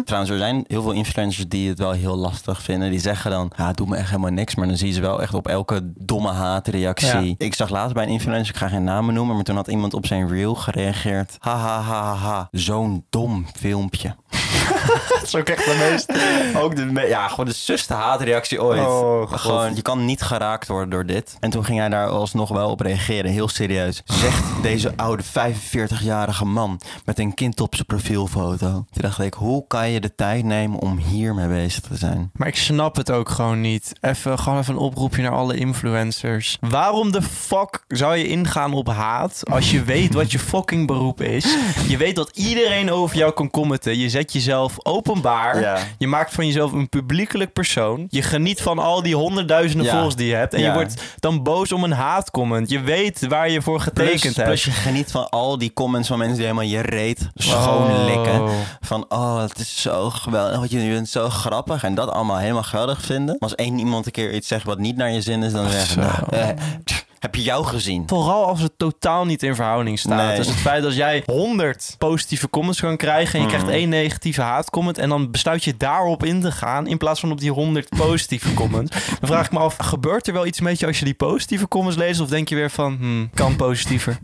Speaker 1: Trouwens, er zijn heel veel influencers die het wel heel lastig vinden. Die zeggen dan, ja, doe me echt helemaal niks. Maar dan zie je ze wel echt op elke domme haatreactie.
Speaker 2: Ja.
Speaker 1: Ik zag laatst bij een influencer, ik ga geen namen noemen... maar toen had iemand op zijn reel gereageerd. Ha, ha, ha, ha, ha. Zo'n dom filmpje.
Speaker 2: Dat is ook echt de meeste.
Speaker 1: Ook de, me- ja, gewoon de zuste haatreactie ooit.
Speaker 2: Oh, God.
Speaker 1: gewoon, je kan niet geraakt worden door dit. En toen ging hij daar alsnog wel op reageren, heel serieus. Zegt deze oude 45-jarige man met een kind op zijn profielfoto. Toen dacht ik, hoe kan je de tijd nemen om hiermee bezig te zijn?
Speaker 2: Maar ik snap het ook gewoon niet. Even, gewoon even een oproepje naar alle influencers. Waarom de fuck zou je ingaan op haat als je weet wat je fucking beroep is? Je weet dat iedereen over jou kan commenten. Je zet jezelf openbaar.
Speaker 1: Ja.
Speaker 2: Je maakt van jezelf een publiekelijk persoon. Je geniet van al die honderdduizenden
Speaker 1: Ja.
Speaker 2: volgers die je hebt. En je
Speaker 1: Ja.
Speaker 2: wordt dan boos om een haatcomment. Je weet waar je voor getekend
Speaker 1: Plus,
Speaker 2: hebt.
Speaker 1: plus je geniet van al die comments van mensen die helemaal je reet schoonlikken.
Speaker 2: Oh.
Speaker 1: Van, oh, het is zo geweldig. Want je bent zo grappig. En dat allemaal helemaal geweldig vinden. Maar als één iemand een keer iets zegt wat niet naar je zin is, dan zeggen
Speaker 2: zo.
Speaker 1: nou, eh, tch, heb je jou gezien?
Speaker 2: Vooral als het totaal niet in verhouding staat.
Speaker 1: Nee.
Speaker 2: Dus het feit dat jij 100 positieve comments kan krijgen en je krijgt één negatieve haatcomment en dan besluit je daarop in te gaan in plaats van op die 100 positieve comments. Dan vraag ik me af, gebeurt er wel iets met je als je die positieve comments leest of denk je weer van, hmm, kan positiever?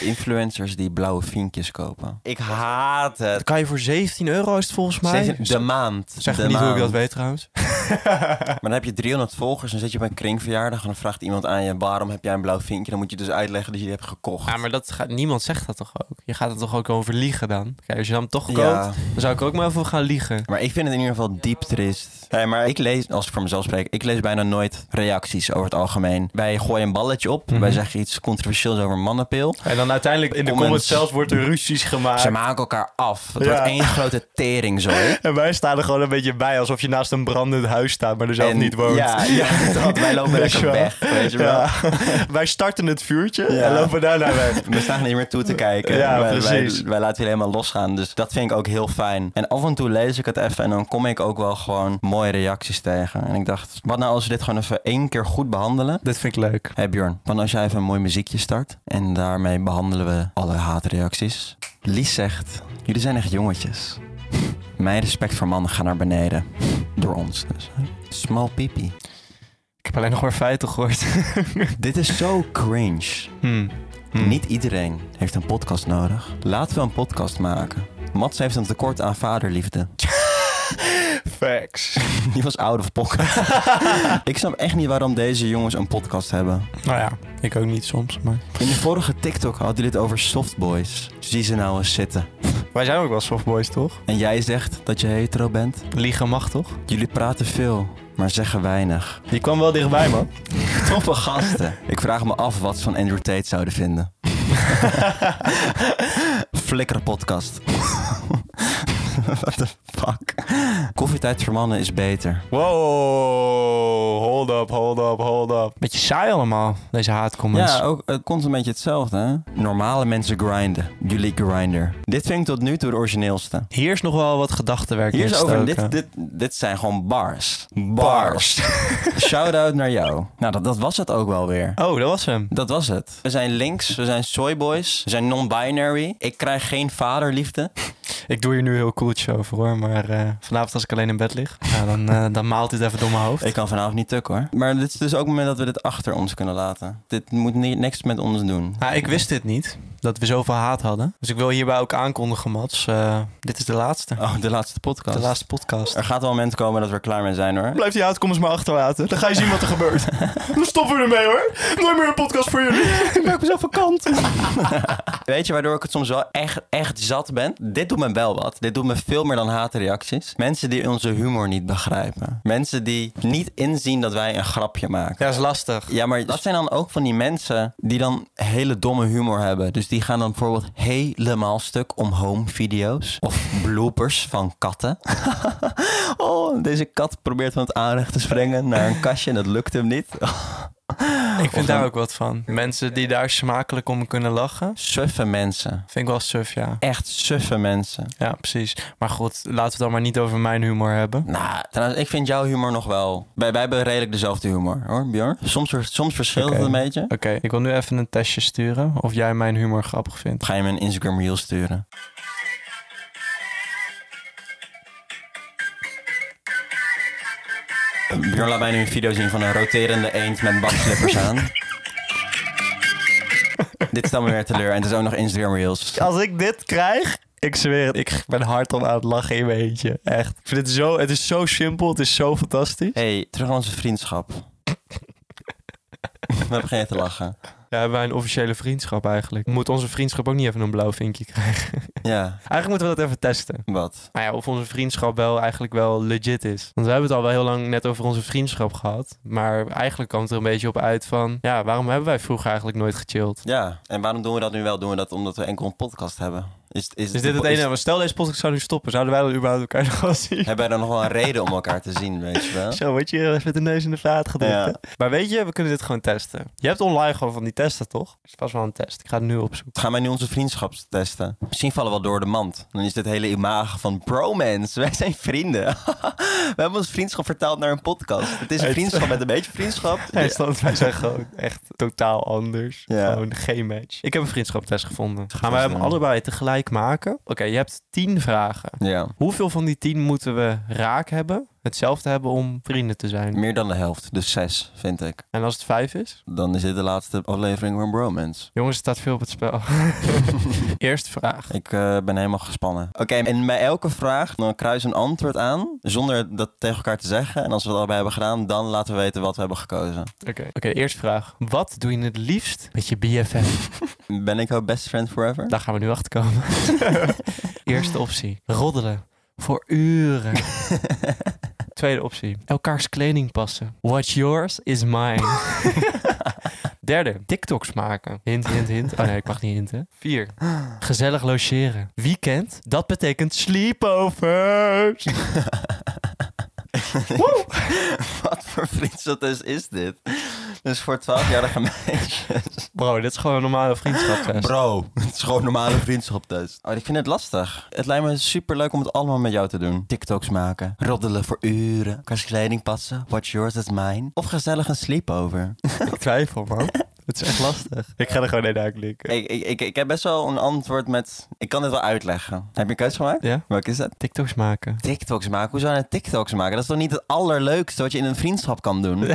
Speaker 1: Influencers die blauwe vinkjes kopen. Ik haat
Speaker 2: Dat
Speaker 1: het.
Speaker 2: kan je voor 17 euro is het volgens mij.
Speaker 1: Steeds- De maand.
Speaker 2: Zeg
Speaker 1: de
Speaker 2: me niet hoe ik
Speaker 1: maand.
Speaker 2: dat weet trouwens.
Speaker 1: Maar dan heb je 300 volgers en zit je op een kringverjaardag en dan vraagt iemand aan je waarom heb jij een blauw vinkje? Dan moet je dus uitleggen dat je die hebt gekocht.
Speaker 2: Ja, maar dat gaat, niemand zegt dat toch ook? Je gaat er toch ook over liegen dan? Kijk, als je hem toch koopt,
Speaker 1: Ja.
Speaker 2: dan zou ik er ook maar over gaan liegen.
Speaker 1: Maar ik vind het in ieder geval diep trist. Nee, maar ik lees, als ik voor mezelf spreek, ik lees bijna nooit reacties over het algemeen. Wij gooien een balletje op,
Speaker 2: Mhm.
Speaker 1: wij zeggen iets controversieels over mannenpil.
Speaker 2: En dan uiteindelijk in de
Speaker 1: Comments.
Speaker 2: comments zelfs wordt er ruzies gemaakt.
Speaker 1: Ze maken elkaar af. Het
Speaker 2: Ja.
Speaker 1: wordt één grote teringzooi.
Speaker 2: En wij staan er gewoon een beetje bij, alsof je naast een brandend huis staat, maar er zelf
Speaker 1: En-
Speaker 2: niet woont.
Speaker 1: Ja, ja dat, wij lopen
Speaker 2: Weet je
Speaker 1: lekker
Speaker 2: wel.
Speaker 1: weg, weet je wel.
Speaker 2: wij starten het vuurtje
Speaker 1: Ja.
Speaker 2: en lopen daarna weg.
Speaker 1: We staan er niet meer toe te kijken.
Speaker 2: Ja,
Speaker 1: wij,
Speaker 2: precies.
Speaker 1: Wij, wij laten jullie helemaal losgaan. Dus dat vind ik ook heel fijn. En af en toe lees ik het even en dan kom ik ook wel gewoon mooie reacties tegen. En ik dacht, wat nou als we dit gewoon even één keer goed behandelen?
Speaker 2: Dit vind ik leuk.
Speaker 1: Hey Bjorn, dan als jij even een mooi muziekje start en daarmee behandelen we alle haatreacties. Lies zegt, jullie zijn echt jongetjes. Mijn respect voor mannen gaat naar beneden. Door ons dus. Small pipi.
Speaker 2: Ik heb alleen nog maar feiten gehoord.
Speaker 1: Dit is zo cringe.
Speaker 2: Hmm.
Speaker 1: Niet iedereen heeft een podcast nodig. Laten we een podcast maken. Mats heeft een tekort aan vaderliefde.
Speaker 2: facts.
Speaker 1: Die was out of pocket. Ik snap echt niet waarom deze jongens een podcast hebben.
Speaker 2: Nou ja, ik ook niet soms, maar...
Speaker 1: In de vorige TikTok had hij dit over softboys. Zie ze nou eens zitten.
Speaker 2: Wij zijn ook wel softboys, toch?
Speaker 1: En jij zegt dat je hetero bent?
Speaker 2: Liegen mag, toch?
Speaker 1: Jullie praten veel, maar zeggen weinig.
Speaker 2: Je kwam wel dichtbij, man.
Speaker 1: Toffe gasten. Ik vraag me af wat ze van Andrew Tate zouden vinden. Flikker podcast. What the fuck? Koffietijd voor mannen is beter.
Speaker 2: Wow, hold up, hold up, hold up. Beetje saai allemaal, deze haatcomments.
Speaker 1: Ja, ook, het komt een beetje hetzelfde, hè? Normale mensen grinden. Jullie grinder. Dit vind ik tot nu toe de origineelste.
Speaker 2: Hier is nog wel wat gedachtenwerk
Speaker 1: Hier is over,
Speaker 2: ingestoken.
Speaker 1: dit, dit, dit zijn gewoon bars. Shout-out naar jou. Nou, dat, dat was het ook wel weer.
Speaker 2: Oh, dat was hem.
Speaker 1: Dat was het. We zijn links, we zijn soyboys, we zijn non-binary. Ik krijg geen vaderliefde.
Speaker 2: Ik doe hier nu heel cooltjes over hoor, maar eh, vanavond als ik alleen in bed lig, ja, dan, eh, dan maalt dit even door mijn hoofd.
Speaker 1: Ik kan vanavond niet tukken hoor. Maar dit is dus ook het moment dat we dit achter ons kunnen laten. Dit moet ni- niks met ons doen.
Speaker 2: Ah, ik wist dit niet, dat we zoveel haat hadden. Dus ik wil hierbij ook aankondigen, Mats. eh, dit is de laatste.
Speaker 1: Oh, de laatste podcast.
Speaker 2: de laatste podcast.
Speaker 1: Er gaat wel een moment komen dat we er klaar mee zijn hoor.
Speaker 2: Eh, Blijf die haatcomments maar achterlaten. Dan ga je zien wat er gebeurt. Dan stoppen we ermee hoor. Nooit meer een podcast voor jullie. ik maak mezelf van kant.
Speaker 1: Weet je waardoor ik het soms wel echt, echt zat ben? Dit doet me wel wat. Dit doet me veel meer dan haatreacties. Mensen die onze humor niet begrijpen. Mensen die niet inzien dat wij een grapje maken.
Speaker 2: Ja, is lastig.
Speaker 1: Ja, maar dat zijn dan ook van die mensen die dan hele domme humor hebben. Dus die gaan dan bijvoorbeeld helemaal stuk om home video's of bloopers van katten. oh, deze kat probeert van het aanrecht te springen naar een kastje en dat lukt hem niet.
Speaker 2: Ik vind daar ook wat van. Mensen die daar smakelijk om kunnen lachen,
Speaker 1: suffe mensen.
Speaker 2: vind ik wel suf, ja.
Speaker 1: Echt suffe mensen.
Speaker 2: Ja, precies. Maar goed, laten we het dan maar niet over mijn humor hebben.
Speaker 1: Nou, trouwens, ik vind jouw humor nog wel... Wij, wij hebben redelijk dezelfde humor, hoor, Bjorn. Soms, ver- soms verschilt
Speaker 2: Oké.
Speaker 1: het een beetje.
Speaker 2: Oké, ik wil nu even een testje sturen of jij mijn humor grappig vindt.
Speaker 1: Ga je me een Instagram reel sturen? Bjorn laat mij nu een video zien van een roterende eend met bakslippers aan. Dit stelt me weer teleur en het is ook nog Instagram reels.
Speaker 2: Als ik dit krijg, ik zweer het, ik ben hardop aan het lachen in mijn eentje. Echt. Ik vind het zo, het is zo simpel, het is zo fantastisch.
Speaker 1: hey, terug aan onze vriendschap. We beginnen te lachen.
Speaker 2: Ja, hebben wij een officiële vriendschap eigenlijk. Moet onze vriendschap ook niet even een blauw vinkje krijgen?
Speaker 1: Ja,
Speaker 2: Eigenlijk moeten we dat even testen.
Speaker 1: wat?
Speaker 2: Nou ja, of onze vriendschap wel eigenlijk wel legit is. Want we hebben het al wel heel lang net over onze vriendschap gehad. Maar eigenlijk kwam het er een beetje op uit van... Ja, waarom hebben wij vroeger eigenlijk nooit gechilled?
Speaker 1: Ja, en waarom doen we dat nu wel? Doen we dat omdat we enkel een podcast hebben? Is, is,
Speaker 2: Is dit het
Speaker 1: is-
Speaker 2: ene? Maar stel deze podcast zou nu stoppen. Zouden wij dan überhaupt elkaar nog wel zien?
Speaker 1: Hebben we dan nog wel een reden om elkaar te zien, weet je wel?
Speaker 2: Zo word je hier met de neus in de vaat gedrukt.
Speaker 1: Ja.
Speaker 2: hè? Maar weet je, we kunnen dit gewoon testen. Je hebt online gewoon van die testen, toch? Het is vast wel een test. Ik ga het nu opzoeken.
Speaker 1: Gaan wij nu onze vriendschap testen? Misschien vallen we wel door de mand. Dan is dit hele imago van bromance. Wij zijn vrienden. we hebben ons vriendschap vertaald naar een podcast. Het is een
Speaker 2: Het-
Speaker 1: vriendschap met een beetje vriendschap. Dus,
Speaker 2: Hij stond, wij zijn gewoon echt totaal anders.
Speaker 1: Ja.
Speaker 2: Gewoon geen match. Ik heb een vriendschaptest gevonden. Gaan wij
Speaker 1: Gefeliciteerd.
Speaker 2: hem allebei tegelijk maken? Oké, je hebt tien vragen.
Speaker 1: Ja.
Speaker 2: Hoeveel van die tien moeten we raak hebben? hetzelfde hebben om vrienden te zijn.
Speaker 1: Meer dan de helft, dus zes, vind ik.
Speaker 2: En als het vijf is?
Speaker 1: Dan is dit de laatste aflevering van Bromance.
Speaker 2: Jongens, er staat veel op het spel. Eerste vraag.
Speaker 1: Ik eh, ben helemaal gespannen. Oké, en bij elke vraag dan kruis een antwoord aan, zonder dat tegen elkaar te zeggen. En als we dat allebei hebben gedaan, dan laten we weten wat we hebben gekozen.
Speaker 2: Oké, eerste vraag. Wat doe je het liefst met je BFF?
Speaker 1: Ben ik jouw best friend forever?
Speaker 2: Daar gaan we nu achter komen. Eerste optie. Roddelen. Voor uren. Tweede optie. Elkaars kleding passen. What's yours is mine. Derde. TikToks maken. Hint, hint, hint. Oh nee, ik mag niet hinten. Vier. Gezellig logeren. Weekend. Dat betekent sleepovers. Woe!
Speaker 1: Wat voor vriendschap is, is dit? Dus voor 12-jarige meisjes.
Speaker 2: Bro, dit is gewoon een normale vriendschapstest.
Speaker 1: Bro, het is gewoon normale vriendschap thuis. Oh, ik vind het lastig. Het lijkt me super leuk om het allemaal met jou te doen. TikToks maken, roddelen voor uren, elkaars kleding passen, what's yours is mine. Of gezellig een sleepover.
Speaker 2: Ik twijfel, man. Het is echt lastig. Ik ga er gewoon een uitklikken.
Speaker 1: Ik, ik, ik, ik heb best wel een antwoord met... Ik kan dit wel uitleggen. Heb je een keuze gemaakt?
Speaker 2: Ja?
Speaker 1: Welke is dat?
Speaker 2: TikToks maken.
Speaker 1: TikToks maken? Hoe zou je nou TikToks maken? Dat is toch niet het allerleukste wat je in een vriendschap kan doen?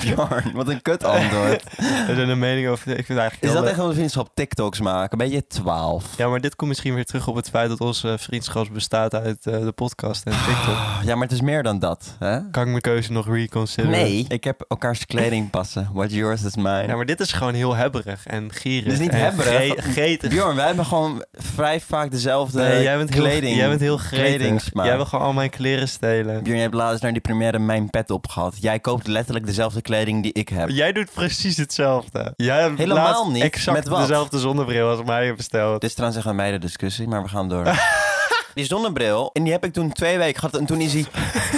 Speaker 1: Bjorn, wat een kut antwoord.
Speaker 2: Er zijn een mening over. Ik vind het eigenlijk
Speaker 1: Is
Speaker 2: heel
Speaker 1: dat
Speaker 2: leuk.
Speaker 1: echt een vriendschap? TikToks maken? Ben je 12?
Speaker 2: Ja, maar dit komt misschien weer terug op het feit dat onze eh, vriendschap bestaat uit eh, de podcast en TikTok.
Speaker 1: Ah, Ja, maar het is meer dan dat, hè?
Speaker 2: Kan ik mijn keuze nog reconsideren?
Speaker 1: Nee. Ik heb elkaars kleding passen. What's yours is mine.
Speaker 2: Ja, maar dit is gewoon heel hebberig en gierig.
Speaker 1: Dit is niet
Speaker 2: en
Speaker 1: hebberig.
Speaker 2: gre- gretig.
Speaker 1: Bjorn, wij hebben gewoon vrij vaak dezelfde
Speaker 2: Nee, jij bent
Speaker 1: kleding.
Speaker 2: heel, jij bent heel gretig.
Speaker 1: kledingsmaak.
Speaker 2: Jij wil gewoon al mijn kleren stelen.
Speaker 1: Bjorn, je hebt laatst naar die première Mijn Pet op gehad. Jij koopt letterlijk dezelfde kleding die ik heb.
Speaker 2: Jij doet precies hetzelfde. Jij hebt
Speaker 1: Helemaal
Speaker 2: laatst
Speaker 1: niet.
Speaker 2: Exact
Speaker 1: Met wat?
Speaker 2: dezelfde zonnebril als mij besteld.
Speaker 1: Dit is trouwens echt een meidendiscussie, maar we gaan door. Die zonnebril, en die heb ik toen twee weken gehad. En toen is hij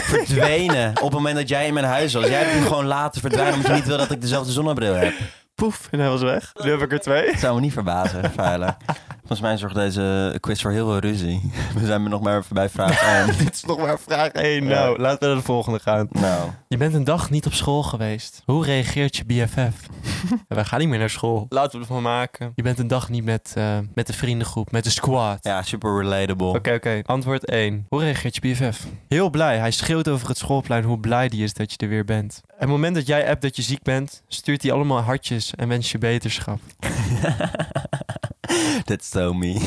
Speaker 1: verdwenen op het moment dat jij in mijn huis was. Jij hebt hem gewoon laten verdwijnen omdat je niet wil dat ik dezelfde zonnebril heb.
Speaker 2: Poef, en hij was weg. Nu heb ik er twee.
Speaker 1: Het zou me niet verbazen, Veilig. Volgens mij zorgt deze quiz voor heel veel ruzie. We zijn er nog maar even bij vraag aan.
Speaker 2: Dit is nog maar
Speaker 1: Ah.
Speaker 2: vraag 1. Nou, laten we naar de volgende gaan.
Speaker 1: Nou,
Speaker 2: Je bent een dag niet op school geweest. Hoe reageert je BFF? Wij gaan niet meer naar school. Laten we ervan maken. Je bent een dag niet met, eh, met de vriendengroep, met de squad.
Speaker 1: ja, super relatable.
Speaker 2: Oké, oké. Antwoord 1. Hoe reageert je BFF? Heel blij. Hij schreeuwt over het schoolplein hoe blij die is dat je er weer bent. En het moment dat jij appt dat je ziek bent, stuurt hij allemaal hartjes en wenst je beterschap.
Speaker 1: That's so me.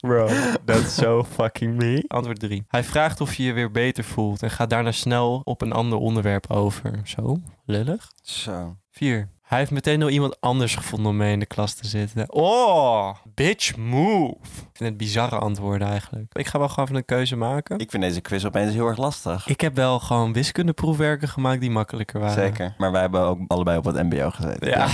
Speaker 2: Bro, that's so fucking me. Antwoord 3. Hij vraagt of je je weer beter voelt en gaat daarna snel op een ander onderwerp over. Zo, lullig.
Speaker 1: Zo.
Speaker 2: 4. Hij heeft meteen al iemand anders gevonden om mee in de klas te zitten. Oh, bitch move. Ik vind het bizarre antwoorden eigenlijk. Ik ga wel gewoon even een keuze maken. Ik,
Speaker 1: Ik vind deze quiz opeens heel erg lastig.
Speaker 2: heb wel gewoon wiskundeproefwerken gemaakt die makkelijker waren.
Speaker 1: Zeker. Maar wij hebben ook allebei op het mbo gezeten.
Speaker 2: Ah. Ja,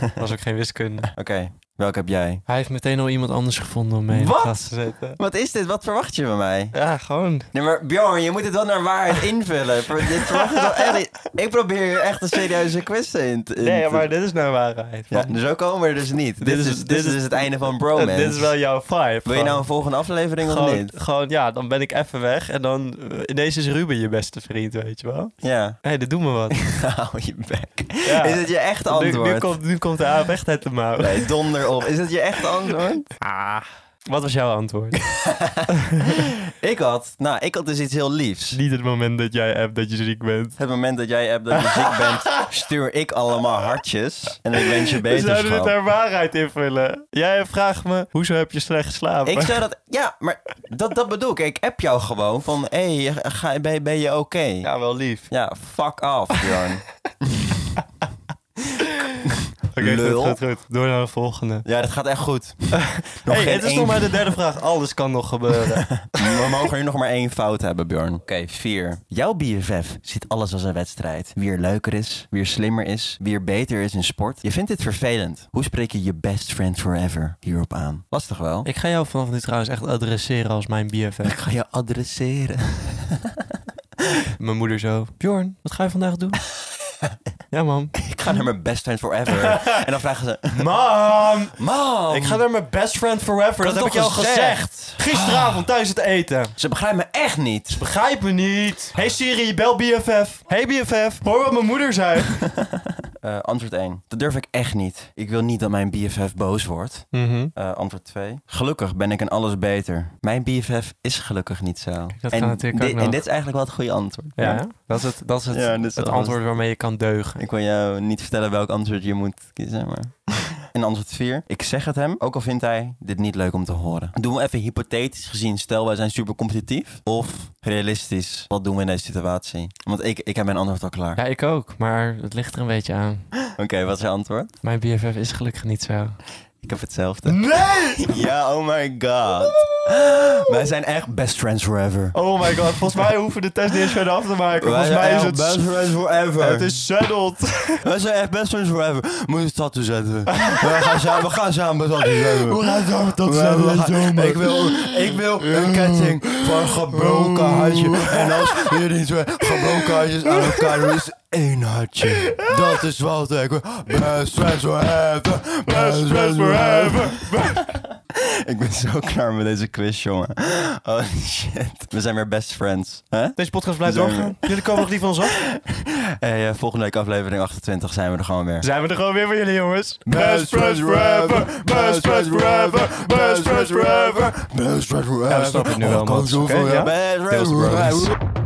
Speaker 2: dat was ook geen wiskunde.
Speaker 1: Oké, welke heb jij?
Speaker 2: Hij heeft meteen al iemand anders gevonden om mee in de
Speaker 1: Wat?
Speaker 2: klas te zitten.
Speaker 1: Wat is dit? Wat verwacht je van mij?
Speaker 2: Ja, gewoon.
Speaker 1: Nee, maar Bjorn, je moet het wel naar waarheid invullen. Ver- dit verwacht je wel echt- Ik probeer hier echt een serieuze quiz in te... in
Speaker 2: Nee,
Speaker 1: te-
Speaker 2: maar dit is nou waarheid.
Speaker 1: Ja, zo komen we er dus niet. Dit,
Speaker 2: Dit
Speaker 1: is,
Speaker 2: is-
Speaker 1: dit
Speaker 2: dit
Speaker 1: is
Speaker 2: is-
Speaker 1: het einde van Bromance.
Speaker 2: Dit is wel jouw vibe.
Speaker 1: Wil je nou een volgende aflevering of
Speaker 2: gewoon,
Speaker 1: niet?
Speaker 2: gewoon, ja, dan ben ik even weg en dan eh, ineens is Ruben je beste vriend, weet je wel.
Speaker 1: Ja.
Speaker 2: Hé, hey, dit doet me wat.
Speaker 1: Hou je bek.
Speaker 2: Ja.
Speaker 1: Is het je echt
Speaker 2: Nu,
Speaker 1: antwoord?
Speaker 2: nu, komt, nu komt de aap echt uit de mouw.
Speaker 1: Nee, donder op. Is het je echt antwoord?
Speaker 2: Ah. Wat was jouw antwoord?
Speaker 1: ik had... Nou, ik had dus iets heel liefs.
Speaker 2: Niet het moment dat jij hebt dat je ziek bent.
Speaker 1: Het moment dat jij hebt dat je ziek bent, stuur ik allemaal hartjes. En ik wens je
Speaker 2: We zouden dit
Speaker 1: beterschap.
Speaker 2: naar waarheid invullen. Jij vraagt me, hoezo heb je slecht geslapen?
Speaker 1: Ik zou dat... Ja, maar dat, dat bedoel ik. Ik app jou gewoon van... Hé, hey, ga- ben, ben je oké? Ja.
Speaker 2: Ja, wel lief.
Speaker 1: fuck off, Bjorn.
Speaker 2: Oké,
Speaker 1: Lul.
Speaker 2: goed, goed, goed. Door naar de volgende.
Speaker 1: Ja, dat gaat echt goed. Nog
Speaker 2: Hey,
Speaker 1: geen
Speaker 2: het is
Speaker 1: één-
Speaker 2: nog maar de derde vraag. Alles kan nog gebeuren.
Speaker 1: We mogen nu nog maar één fout hebben, Bjorn. Oké, vier. Jouw BFF ziet alles als een wedstrijd. Wie er leuker is, wie er slimmer is, wie er beter is in sport. Je vindt dit vervelend. Hoe spreek je je best friend forever hierop aan? Lastig wel.
Speaker 2: Ik ga jou vanaf nu trouwens echt adresseren als mijn BFF.
Speaker 1: Ik ga je adresseren.
Speaker 2: Mijn moeder zo. Bjorn, wat ga je vandaag doen? ja, mam.
Speaker 1: Ik ga naar mijn best friend forever. en dan vragen ze...
Speaker 2: Mam!
Speaker 1: Mam!
Speaker 2: Ik ga naar mijn best friend forever.
Speaker 1: had
Speaker 2: Dat, heb
Speaker 1: het
Speaker 2: ik je al
Speaker 1: toch gezegd?
Speaker 2: gezegd. Gisteravond thuis het eten.
Speaker 1: Ze begrijpen me echt niet.
Speaker 2: Begrijp me niet. Hey Siri, bel BFF. Hey BFF, hoor wat mijn moeder zei.
Speaker 1: Eh, antwoord 1. Dat durf ik echt niet. Ik wil niet dat mijn BFF boos wordt.
Speaker 2: Mhm.
Speaker 1: Eh, antwoord 2. Gelukkig ben ik in alles beter. Mijn BFF is gelukkig niet zo.
Speaker 2: dat
Speaker 1: en,
Speaker 2: kan natuurlijk
Speaker 1: di-
Speaker 2: ook nog.
Speaker 1: en dit is eigenlijk wel het goede antwoord.
Speaker 2: Ja, dat is het, dat is het,
Speaker 1: Ja, dit is
Speaker 2: het
Speaker 1: wel
Speaker 2: antwoord waarmee je kan deugen.
Speaker 1: Ik wil jou niet vertellen welk antwoord je moet kiezen, maar... En antwoord 4. Ik zeg het hem, ook al vindt hij dit niet leuk om te horen. Doen we even hypothetisch gezien, stel wij zijn super competitief. Of realistisch, wat doen we in deze situatie? Want ik, ik heb mijn antwoord al klaar.
Speaker 2: Ja, ik ook, maar het ligt er een beetje aan.
Speaker 1: Oké, wat is je antwoord?
Speaker 2: Mijn BFF is gelukkig niet zo.
Speaker 1: Ik heb hetzelfde. Nee! Ja, oh my god. Wij zijn echt best friends forever.
Speaker 2: Oh my god, volgens mij hoeven de test niet eens verder af te maken.
Speaker 1: Wij zijn echt best friends forever.
Speaker 2: is settled.
Speaker 1: Wij zijn echt best friends forever. Moet je een tattoo zetten. we gaan samen, we gaan samen een tattoo zetten.
Speaker 2: dat
Speaker 1: We gaan- ik, wil, ik wil een ketting van gebroken hartje. En als jullie twee gebroken hartjes aan elkaar doen, is één hartje. Dat is wat ik wil. Best friends forever. Best friends forever. Ik ben zo klaar met deze quiz, jongen. Oh shit. We zijn weer best friends. hè?
Speaker 2: Deze podcast blijft
Speaker 1: Zijn we-
Speaker 2: doorgaan. Jullie komen nog niet van ons af.
Speaker 1: Hey, eh, volgende week aflevering 28 zijn we er gewoon weer.
Speaker 2: Zijn we er gewoon weer voor jullie, jongens.
Speaker 1: Best friends forever, best friends forever, best friends forever, best friends forever.
Speaker 2: Ja, we snappen het nu wel,
Speaker 1: Oh, ik kan
Speaker 2: Mats.
Speaker 1: zoveel,
Speaker 2: Oké,
Speaker 1: ja.
Speaker 2: ja?
Speaker 1: Best friends
Speaker 2: Deels, bro.
Speaker 1: forever.